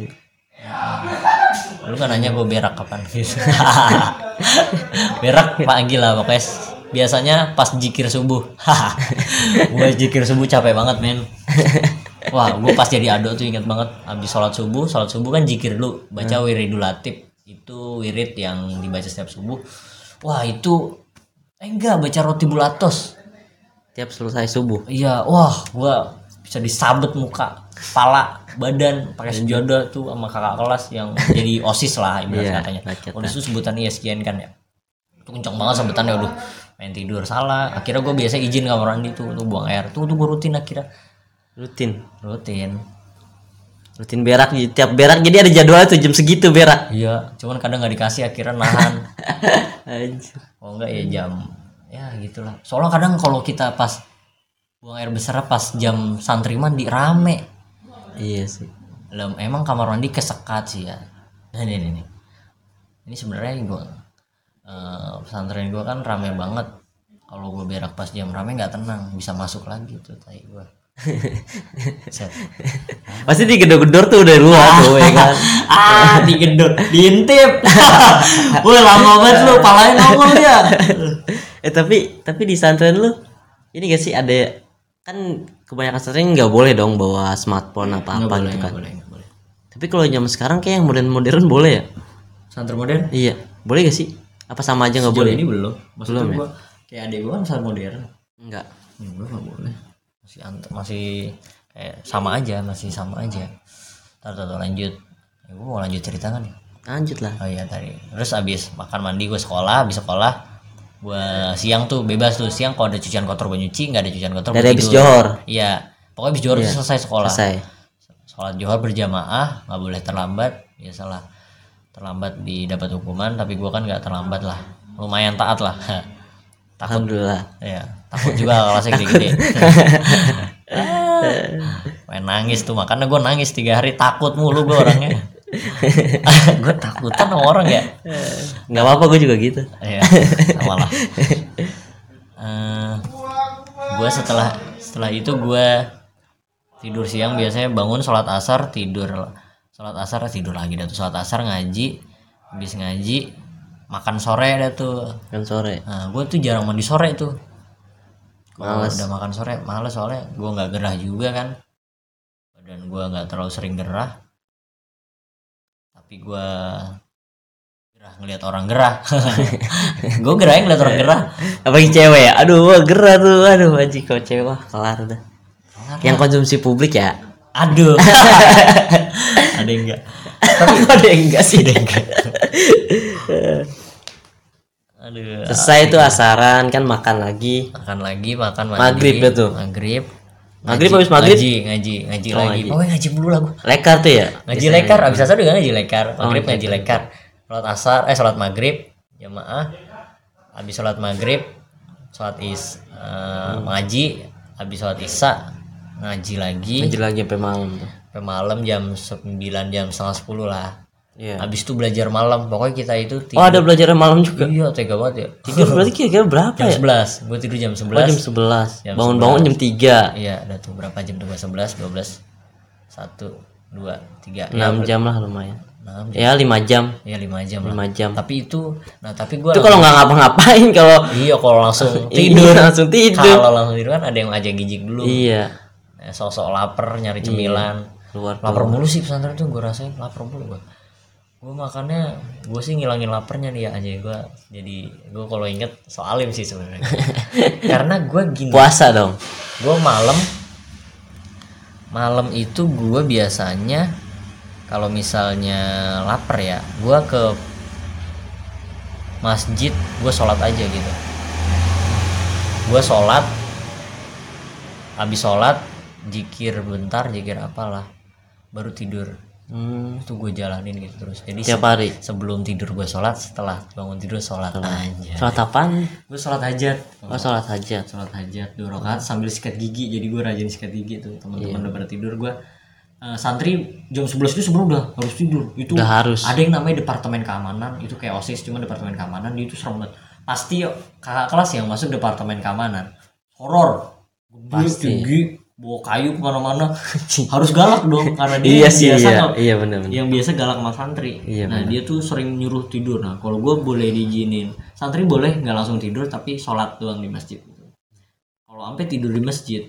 Speaker 1: sih.
Speaker 2: lu kan nanya gue berak kapan gitu [LAUGHS] berak pagi lah pokoknya biasanya pas jikir subuh [LAUGHS] gue jikir subuh capek banget men wah gue pas jadi ado tuh inget banget abis sholat subuh sholat subuh kan jikir dulu baca wiridul latif itu wirid yang dibaca setiap subuh wah itu eh enggak baca roti bulatos
Speaker 1: Tiap selesai subuh.
Speaker 2: Iya, wah, gua bisa disabet muka, kepala, badan pakai sejodoh tuh sama kakak kelas yang jadi osis lah ibarat
Speaker 1: Iya,
Speaker 2: katanya.
Speaker 1: rakyat
Speaker 2: Osis itu sebutan ISGN kan ya. Itu kenceng banget sebutannya, aduh. Main tidur salah. Akhirnya gua biasa izin kamar mandi tuh untuk buang air. Tuh tuh gua rutin akhirnya.
Speaker 1: Rutin.
Speaker 2: Rutin.
Speaker 1: Rutin berak jadi tiap berak jadi ada jadwal tuh jam segitu berak. [LAUGHS]
Speaker 2: Iya, cuman kadang nggak dikasih akhirnya nahan.
Speaker 1: Anjir.
Speaker 2: kalau enggak ya jam ya gitulah soalnya kadang kalau kita pas buang air besar pas jam santri mandi rame
Speaker 1: Iya sih.
Speaker 2: Lem, emang kamar mandi kesekat sih ya. Nah, ini ini. Ini, ini sebenarnya gue
Speaker 1: [LAUGHS]
Speaker 2: pesantren gue kan rame banget. Kalau gue berak pas jam rame nggak tenang, bisa masuk lagi tuh tai gue. Set.
Speaker 1: Pasti digedor-gedor tuh dari luar tuh ya kan.
Speaker 2: [LAUGHS] ah digedor
Speaker 1: [LAUGHS]
Speaker 2: diintip woi lama banget lu palanya nongol dia
Speaker 1: [LAUGHS] Eh tapi tapi di santren lu ini gak sih ada kan kebanyakan santren nggak boleh dong bawa smartphone apa apa gitu kan.
Speaker 2: boleh nggak boleh
Speaker 1: Tapi kalau zaman sekarang kayak yang modern-modern boleh ya?
Speaker 2: santri modern
Speaker 1: Iya, boleh gak sih? Apa sama aja nggak
Speaker 2: sejauh
Speaker 1: boleh?
Speaker 2: ini belum maksudnya
Speaker 1: Belum, ya?
Speaker 2: gua kayak adik gua kan santri modern
Speaker 1: Enggak.
Speaker 2: ya gua nggak boleh masih ant- masih eh, sama aja masih sama aja taruh taruh lanjut ya, gua mau lanjut cerita kan ya?
Speaker 1: Lanjut lah.
Speaker 2: oh iya tadi terus abis makan mandi gue sekolah abis sekolah gue siang tuh bebas tuh siang kalau ada cucian kotor gue nyuci nggak ada cucian kotor gue
Speaker 1: Dari habis
Speaker 2: tidur.
Speaker 1: Johor
Speaker 2: iya pokoknya abis juara tuh selesai sekolah
Speaker 1: selesai.
Speaker 2: sholat johor berjamaah nggak boleh terlambat ya salah terlambat didapat hukuman tapi gua kan nggak terlambat lah lumayan taat lah [LAUGHS] takut
Speaker 1: Alhamdulillah.
Speaker 2: ya takut juga kalau saya gede-gede main nangis tuh makanya gua nangis tiga hari takut mulu gua orangnya gue takutan sama orang ya
Speaker 1: Nggak apa-apa gue juga gitu.
Speaker 2: Iya, sama lah. Eh, gua setelah setelah itu gua tidur siang biasanya bangun sholat asar tidur sholat asar tidur lagi dah tuh sholat asar ngaji habis ngaji makan sore dah tuh
Speaker 1: Kan sore.
Speaker 2: Nah, gue tuh jarang mandi sore tuh. Kalau udah makan sore males soalnya gue nggak gerah juga kan. Badan gue nggak terlalu sering gerah. Tapi gue gerah ngelihat orang gerah. [LAUGHS] gue gerah ngelihat orang gerah.
Speaker 1: Apalagi cewek ya. Aduh, wah, gerah tuh. Aduh, anjing kau cewek wah, kelar udah. Yang konsumsi publik ya. [LAUGHS]
Speaker 2: Aduh. Ada yang enggak.
Speaker 1: Ada yang enggak sih.
Speaker 2: Ada yang enggak. Aduh.
Speaker 1: Selesai tuh asaran kan makan lagi.
Speaker 2: makan lagi makan mandi
Speaker 1: Maghrib dah tuh.
Speaker 2: maghrib
Speaker 1: Maghrib
Speaker 2: Ngaji-
Speaker 1: habis maghrib?
Speaker 2: ngaji ngaji ngaji
Speaker 1: Oh,
Speaker 2: lagi
Speaker 1: ngaji.
Speaker 2: oh ngaji dulu lah gua.
Speaker 1: Lekar tuh ya.
Speaker 2: ngaji lekar Nah, abis asar juga ngaji lekar
Speaker 1: Oh,
Speaker 2: maghrib ngaji lekar sholat asar eh sholat maghrib jamaah abis sholat maghrib sholat is eh,
Speaker 1: Hmm.
Speaker 2: ngaji abis sholat isya ngaji lagi
Speaker 1: Lanjut lagi sampai malam tuh.
Speaker 2: sampai malam jam 9 jam setengah 10 lah
Speaker 1: Iya.
Speaker 2: abis itu belajar malam pokoknya kita itu
Speaker 1: Oh, ada belajar malam juga.
Speaker 2: iya tega banget ya
Speaker 1: Tidur berarti kira-kira berapa
Speaker 2: jam
Speaker 1: ya?
Speaker 2: 11 gue tidur jam 11
Speaker 1: Oh, jam 11. Bangun-bangun jam 3.
Speaker 2: Iya, ada tuh berapa jam tuh? 11, 12, 1, 2, 3,
Speaker 1: 6 jam lah lumayan.
Speaker 2: 6 jam.
Speaker 1: Ya, 5 jam.
Speaker 2: Ya 5 jam lah.
Speaker 1: 5 jam.
Speaker 2: Tapi itu nah tapi gua
Speaker 1: Itu kalau nggak ngapa-ngapain kalau
Speaker 2: Iya, kalau
Speaker 1: Iya.
Speaker 2: langsung
Speaker 1: tidur
Speaker 2: tidur.
Speaker 1: langsung tidur.
Speaker 2: Kalau langsung tidur kan ada yang ajak gijik dulu.
Speaker 1: Iya.
Speaker 2: Nah, sosok lapar nyari cemilan.
Speaker 1: Keluar
Speaker 2: Lapar mulu sih pesantren tuh gua rasain lapar mulu gua. Gua makannya gua sih ngilangin laparnya nih ya aja gua. Jadi gua kalau inget soalim sih sebenarnya. Karena gua gini.
Speaker 1: puasa dong.
Speaker 2: gue malam malam itu gue biasanya kalau misalnya lapar ya gue ke masjid gue sholat aja gitu gue sholat habis sholat jikir bentar jikir apalah baru tidur
Speaker 1: Hmm,
Speaker 2: itu gue jalanin gitu terus jadi
Speaker 1: tiap hari.
Speaker 2: se- sebelum tidur gue sholat setelah bangun tidur sholat aja
Speaker 1: Sholat apaan?
Speaker 2: gue sholat hajat
Speaker 1: Oh, sholat hajat.
Speaker 2: sholat hajat dua rakaat sambil sikat gigi jadi gue rajin sikat gigi tuh
Speaker 1: Iya.
Speaker 2: teman-teman udah pada tidur gue eh, santri jam 11 itu sebelum udah harus tidur itu
Speaker 1: Udah harus.
Speaker 2: ada yang namanya departemen keamanan itu kayak osis cuma departemen keamanan dia itu serem banget pasti yuk, kakak kelas yang masuk departemen keamanan horor gede tinggi bawa kayu kemana-mana
Speaker 1: [LAUGHS]
Speaker 2: harus galak dong karena dia
Speaker 1: Iya sih,
Speaker 2: biasa
Speaker 1: iya.
Speaker 2: nggak-
Speaker 1: Iya benar-benar.
Speaker 2: yang biasa galak sama santri.
Speaker 1: Iya,
Speaker 2: nah dia tuh sering nyuruh tidur. Nah kalau gue boleh diizinin, santri boleh nggak langsung tidur tapi sholat doang di masjid. Kalau sampai tidur di masjid,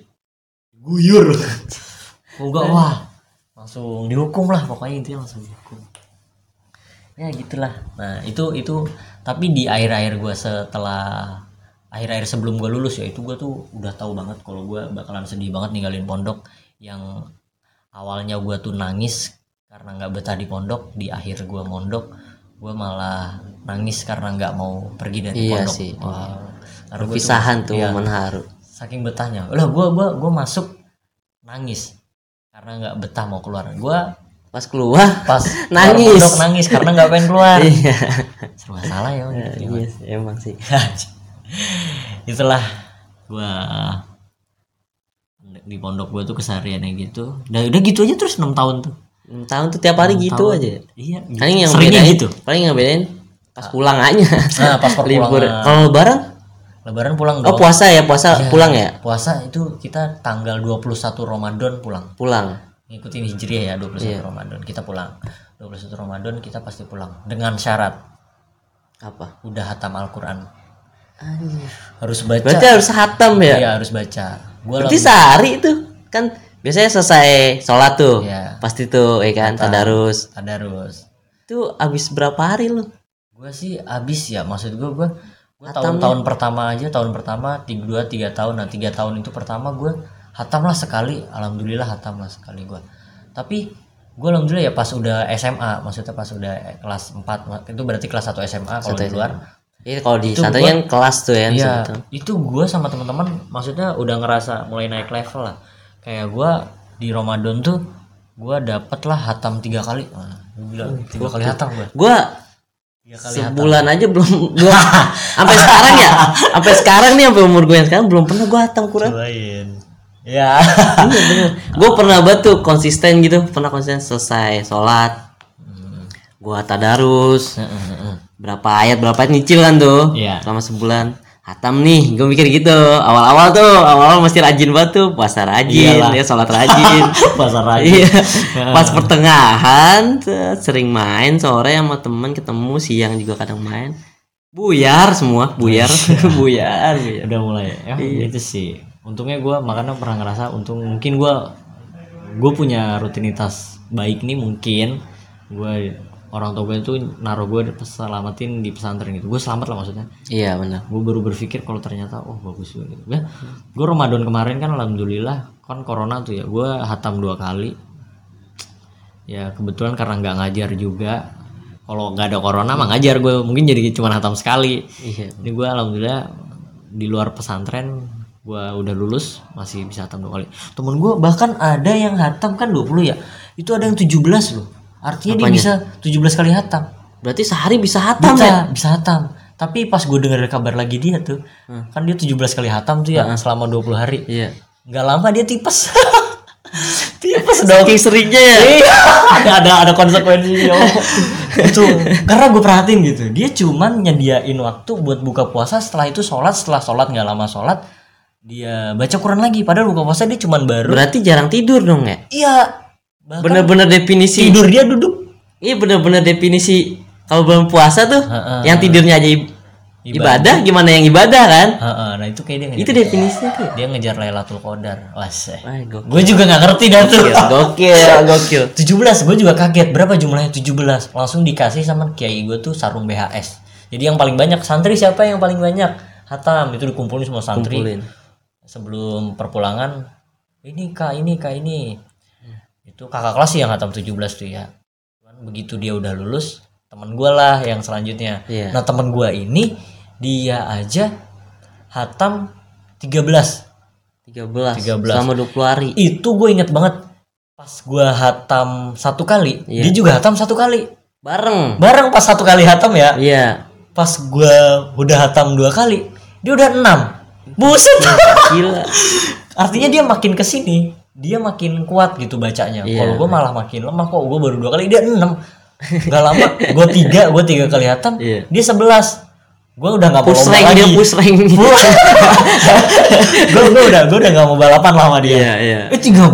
Speaker 2: guyur. [LAUGHS] Kalau nggak wah langsung dihukum lah pokoknya intinya langsung dihukum. Ya gitulah. Nah itu itu tapi di akhir-akhir gue setelah akhir-akhir sebelum gue lulus ya itu gue tuh udah tahu banget kalau gue bakalan sedih banget ninggalin pondok yang awalnya gue tuh nangis karena nggak betah di pondok di akhir gue mondok gue malah nangis karena nggak mau pergi dari
Speaker 1: Iya
Speaker 2: pondok
Speaker 1: sih,
Speaker 2: Wah, karena gua tuh
Speaker 1: Pisahan tuh
Speaker 2: Iya.
Speaker 1: momen haru.
Speaker 2: saking betahnya lah gue gua gua masuk nangis karena nggak betah mau keluar gue
Speaker 1: Pas keluar
Speaker 2: pas
Speaker 1: [LAUGHS]
Speaker 2: keluar
Speaker 1: Nangis.
Speaker 2: pondok nangis karena nggak pengen
Speaker 1: [LAUGHS]
Speaker 2: keluar
Speaker 1: Iya.
Speaker 2: serba salah ya emang gitu. ya.
Speaker 1: Iya, sih, emang sih.
Speaker 2: [LAUGHS] itulah gua di pondok gua tuh kesehariannya gitu dan udah gitu aja terus 6 tahun tuh
Speaker 1: 6 tahun tuh tiap hari gitu
Speaker 2: tahun.
Speaker 1: aja.
Speaker 2: iya
Speaker 1: Paling yang
Speaker 2: seringnya
Speaker 1: bedain,
Speaker 2: gitu
Speaker 1: Paling yang bedain Ah. pas pulang aja. [LAUGHS]
Speaker 2: nah pas perpulangan
Speaker 1: Libur. Kalau lebaran
Speaker 2: Lebaran pulang
Speaker 1: Oh
Speaker 2: dong.
Speaker 1: puasa ya puasa
Speaker 2: Iya.
Speaker 1: pulang ya
Speaker 2: Puasa itu kita tanggal 21 Ramadan pulang.
Speaker 1: pulang.
Speaker 2: Ngikutin Hijriah ya 21
Speaker 1: Iya.
Speaker 2: Ramadan kita pulang. 21 Ramadan kita pasti pulang dengan syarat
Speaker 1: Apa?
Speaker 2: udah hatam Al-Qur'an.
Speaker 1: Anjir.
Speaker 2: Harus baca.
Speaker 1: Berarti harus hatam ya.
Speaker 2: Iya, harus baca. Gua
Speaker 1: Berarti sehari itu kan biasanya selesai sholat tuh
Speaker 2: Iya.
Speaker 1: pasti tuh ya kan tadarus
Speaker 2: tadarus.
Speaker 1: itu habis berapa hari lu
Speaker 2: Gue sih abis ya, maksud gue gue gue
Speaker 1: Hatam ya?
Speaker 2: tahun-tahun pertama aja, tahun pertama tiga dua tiga tahun, nah tiga tahun itu pertama gue hatam lah sekali, alhamdulillah hatam lah sekali gue. Tapi gue alhamdulillah ya pas udah SMA, maksudnya pas udah eh, kelas 4 itu berarti kelas 1 SMA kalau
Speaker 1: Satu
Speaker 2: di luar.
Speaker 1: Ini kalau di
Speaker 2: Itu
Speaker 1: santri
Speaker 2: gua-
Speaker 1: kan kelas tuh ya.
Speaker 2: Iya,
Speaker 1: santri.
Speaker 2: itu gue sama teman-teman maksudnya udah ngerasa mulai naik level lah. Kayak gue di Ramadan tuh gue dapet lah hatam tiga kali. Nah, gua bilang tiga kali hatam gue.
Speaker 1: Gua
Speaker 2: Tiga kali hatam.
Speaker 1: sebulan aja belum
Speaker 2: [LAUGHS]
Speaker 1: belum sampai sekarang ya. Sampai sekarang nih sampai umur gue yang sekarang belum pernah gua hatam Quran.
Speaker 2: Cobain.
Speaker 1: Iya
Speaker 2: Ya.
Speaker 1: bener. Gue pernah banget tuh konsisten gitu, pernah konsisten selesai sholat,
Speaker 2: Hmm.
Speaker 1: gua tadarus, berapa ayat berapa ayat nyicil kan tuh
Speaker 2: Iya.
Speaker 1: selama sebulan. Hatam nih, gue mikir gitu. Awal-awal tuh, awal-awal masih rajin banget tuh, puasa rajin,
Speaker 2: Iyalah.
Speaker 1: ya sholat rajin.
Speaker 2: [LAUGHS] [LAUGHS] Pasar lagi.
Speaker 1: Iya. Pas pertengahan se- sering main sore sama temen ketemu siang juga kadang main. Buyar semua, buyar, [LAUGHS] buyar, buyar.
Speaker 2: Udah mulai. Ya, itu sih. Untungnya gua makanya pernah ngerasa untung mungkin gua gue punya rutinitas baik nih mungkin gue orang tua gue tuh naruh gue selamatin di pesantren gitu gue selamat lah maksudnya
Speaker 1: Iya benar.
Speaker 2: gue baru berpikir kalau ternyata oh bagus juga gitu gue gue Ramadan kemarin kan alhamdulillah kan corona tuh ya gue hatam dua kali ya kebetulan karena nggak ngajar juga kalau nggak ada corona mah ngajar gue mungkin jadi cuma hatam sekali
Speaker 1: Iya.
Speaker 2: ini gue alhamdulillah di luar pesantren gue udah lulus masih bisa hatam dua kali temen gue bahkan ada yang hatam kan 20 ya itu ada yang 17 loh artinya dia bisa 17 kali hatam
Speaker 1: Berarti sehari bisa hatam
Speaker 2: bisa
Speaker 1: ya?
Speaker 2: bisa hatam tapi pas gue denger kabar lagi dia tuh kan dia 17 kali hatam tuh ya selama 20 hari
Speaker 1: Hmm. Iya.
Speaker 2: nggak lama dia
Speaker 1: [LAUGHS]
Speaker 2: tipes tipes dong
Speaker 1: Saking seringnya ya.
Speaker 2: Iya, ada ada ada konsekuensinya Om. itu karena gue perhatiin gitu dia cuman nyediain waktu buat buka puasa setelah itu sholat setelah sholat nggak lama sholat dia baca Quran lagi padahal buka puasa dia cuman baru
Speaker 1: Berarti jarang tidur dong ya?
Speaker 2: iya bahkan
Speaker 1: Bener-bener definisi.
Speaker 2: tidur dia duduk
Speaker 1: Iya bener-bener definisi kalau belum puasa tuh, yang tidurnya aja i- ibadah, gimana yang ibadah kan?
Speaker 2: Heeh, nah itu kayak dia ngejar
Speaker 1: Itu definisinya tuh.
Speaker 2: dia ngejar Lailatul Qadar waseh
Speaker 1: Wah, gokil.
Speaker 2: Gue juga nggak ngerti dah
Speaker 1: Iya
Speaker 2: tuh.
Speaker 1: Gokil, gokil.
Speaker 2: 17, gue juga kaget berapa jumlahnya 17. Langsung dikasih sama kiai gue tuh sarung BHS. Jadi yang paling banyak santri siapa yang paling banyak? Hatam itu dikumpulin semua santri
Speaker 1: Kumpulin.
Speaker 2: sebelum perpulangan. Ini kak, ini kak, ini. Itu kakak kelas sih yang hatam 17 tuh ya. Cuman begitu dia udah lulus, temen gue lah yang selanjutnya.
Speaker 1: Iya.
Speaker 2: Nah temen gue ini dia aja hatam 13
Speaker 1: 13.
Speaker 2: 13.
Speaker 1: Selama 20 hari.
Speaker 2: itu gue inget banget pas gue hatam satu kali
Speaker 1: Iya.
Speaker 2: dia juga hatam satu kali
Speaker 1: Bareng.
Speaker 2: bareng pas satu kali hatam ya
Speaker 1: Iya.
Speaker 2: pas gue udah hatam dua kali dia udah enam buset
Speaker 1: Iya. Gila.
Speaker 2: artinya dia makin kesini dia makin kuat gitu bacanya
Speaker 1: Iya.
Speaker 2: kalau gue malah makin lemah kok gue baru dua kali dia enam gak lama gue tiga gue tiga kali hatam
Speaker 1: Iya.
Speaker 2: dia sebelas gue udah nggak mau
Speaker 1: Push
Speaker 2: lomba
Speaker 1: rank
Speaker 2: lagi
Speaker 1: dia
Speaker 2: [LAUGHS]
Speaker 1: push rank. [LAUGHS]
Speaker 2: gue gue udah gue udah nggak mau balapan sama dia
Speaker 1: Iya, iya.
Speaker 2: Eh 13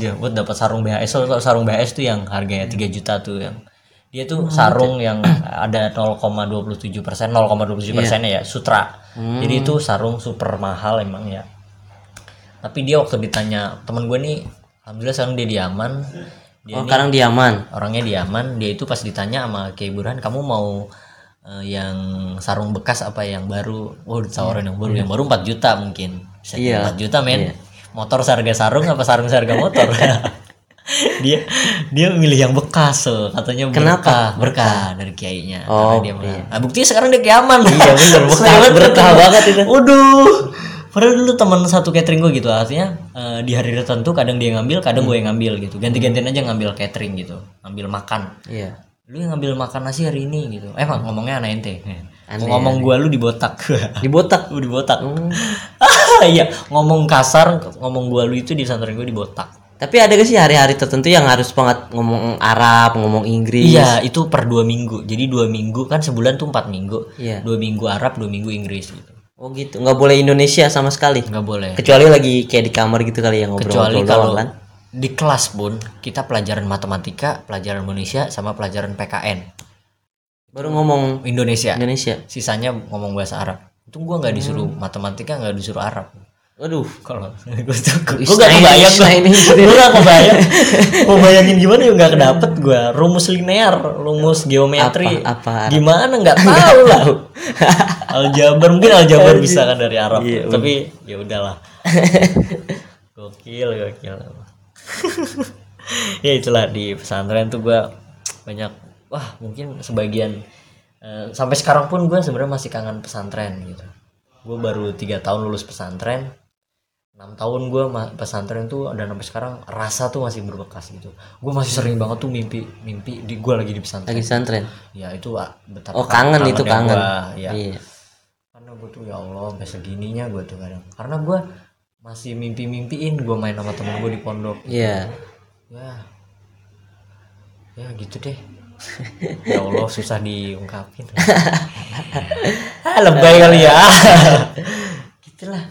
Speaker 2: dia buat dapat sarung BHS. So, so- sarung BHS tuh yang harganya 3 juta tuh yang dia tuh sarung yang ada 0,27 persen, 0,27 persennya ya sutra. Jadi itu sarung super mahal emang ya. Tapi dia waktu ditanya temen gue nih, alhamdulillah sekarang dia di Yaman. Dia
Speaker 1: Oh,
Speaker 2: nih
Speaker 1: sekarang di Yaman.
Speaker 2: orangnya di Yaman. Dia itu pas ditanya sama Kiai Burhan, kamu mau eh, yang sarung bekas apa yang baru? Oh ditawarin yang baru, yang baru 4 juta mungkin. Bisa
Speaker 1: Iya.
Speaker 2: 4 juta men motor seharga sarung apa sarung seharga motor
Speaker 1: [LAUGHS]
Speaker 2: dia dia milih yang bekas so. katanya
Speaker 1: Kenapa?
Speaker 2: berkah berkah dari kiainya
Speaker 1: Oh,
Speaker 2: Karena dia malah- nah, buktinya sekarang dia kiaman
Speaker 1: Iya,
Speaker 2: [LAUGHS]
Speaker 1: bener. Berkah-
Speaker 2: Selamat
Speaker 1: berkah
Speaker 2: berkah.
Speaker 1: banget itu.
Speaker 2: waduh padahal dulu teman satu catering gue gitu artinya eh, di hari tertentu kadang dia ngambil kadang gue yang ngambil gitu ganti-gantian aja ngambil catering gitu ngambil makan
Speaker 1: Iya.
Speaker 2: lu yang ngambil makan nasi hari ini gitu emang ngomongnya anak ente
Speaker 1: Aneh,
Speaker 2: Mau ngomong gua lu di botak
Speaker 1: Di botak. Oh.
Speaker 2: lu di botak Ah, [LAUGHS] iya ngomong kasar ngomong gua lu itu di pesantren gua di botak
Speaker 1: Tapi ada gak sih hari-hari tertentu yang harus banget ngomong Arab, ngomong Inggris?
Speaker 2: iya itu per dua minggu jadi dua minggu kan sebulan tuh empat minggu
Speaker 1: Iya.
Speaker 2: dua minggu Arab dua minggu Inggris gitu
Speaker 1: Oh gitu, nggak boleh Indonesia sama sekali.
Speaker 2: nggak boleh
Speaker 1: Kecuali lagi kayak di kamar gitu kali yang
Speaker 2: kecuali
Speaker 1: ngobrol-ngobrol
Speaker 2: kalau
Speaker 1: doang kan.
Speaker 2: di kelas pun kita pelajaran matematika pelajaran Indonesia sama pelajaran PKN
Speaker 1: Baru ngomong
Speaker 2: Indonesia
Speaker 1: Indonesia.
Speaker 2: sisanya ngomong bahasa Arab itu gua nggak disuruh
Speaker 1: Hmm.
Speaker 2: matematika nggak disuruh Arab
Speaker 1: Aduh,
Speaker 2: kalau [LAUGHS] gue tuh gue
Speaker 1: Isna
Speaker 2: gak
Speaker 1: ini,
Speaker 2: kebayang
Speaker 1: Isna
Speaker 2: [LAUGHS]
Speaker 1: ini.
Speaker 2: gue gak
Speaker 1: [LAUGHS]
Speaker 2: kebayang mau bayangin gimana ya gak kedapet gue rumus linear rumus geometri
Speaker 1: Apa- apa?
Speaker 2: gimana nggak tahu
Speaker 1: [LAUGHS]
Speaker 2: lah aljabar mungkin aljabar bisa kan dari Arab
Speaker 1: Iya,
Speaker 2: tapi
Speaker 1: [LAUGHS]
Speaker 2: ya udahlah gokil gokil ya itulah di pesantren tuh gue banyak wah mungkin sebagian eh, sampai sekarang pun gue sebenarnya masih kangen pesantren gitu gue baru tiga tahun lulus pesantren enam tahun gue pesantren tuh dan sampai sekarang rasa tuh masih berbekas gitu gue masih sering banget tuh mimpi mimpi di gue lagi di pesantren
Speaker 1: lagi pesantren.
Speaker 2: ya itu ah, betapa
Speaker 1: Oh, kangen itu, kangen.
Speaker 2: kangennya gua, ya
Speaker 1: Iya.
Speaker 2: karena gue tuh ya Allah sampai segininya gue tuh kadang karena gue masih mimpi-mimpiin gue main sama temen gue di pondok
Speaker 1: Iya.
Speaker 2: ya ya gitu deh ya Allah susah
Speaker 1: Gitu
Speaker 2: diungkapin ah lebay kali ya gitulah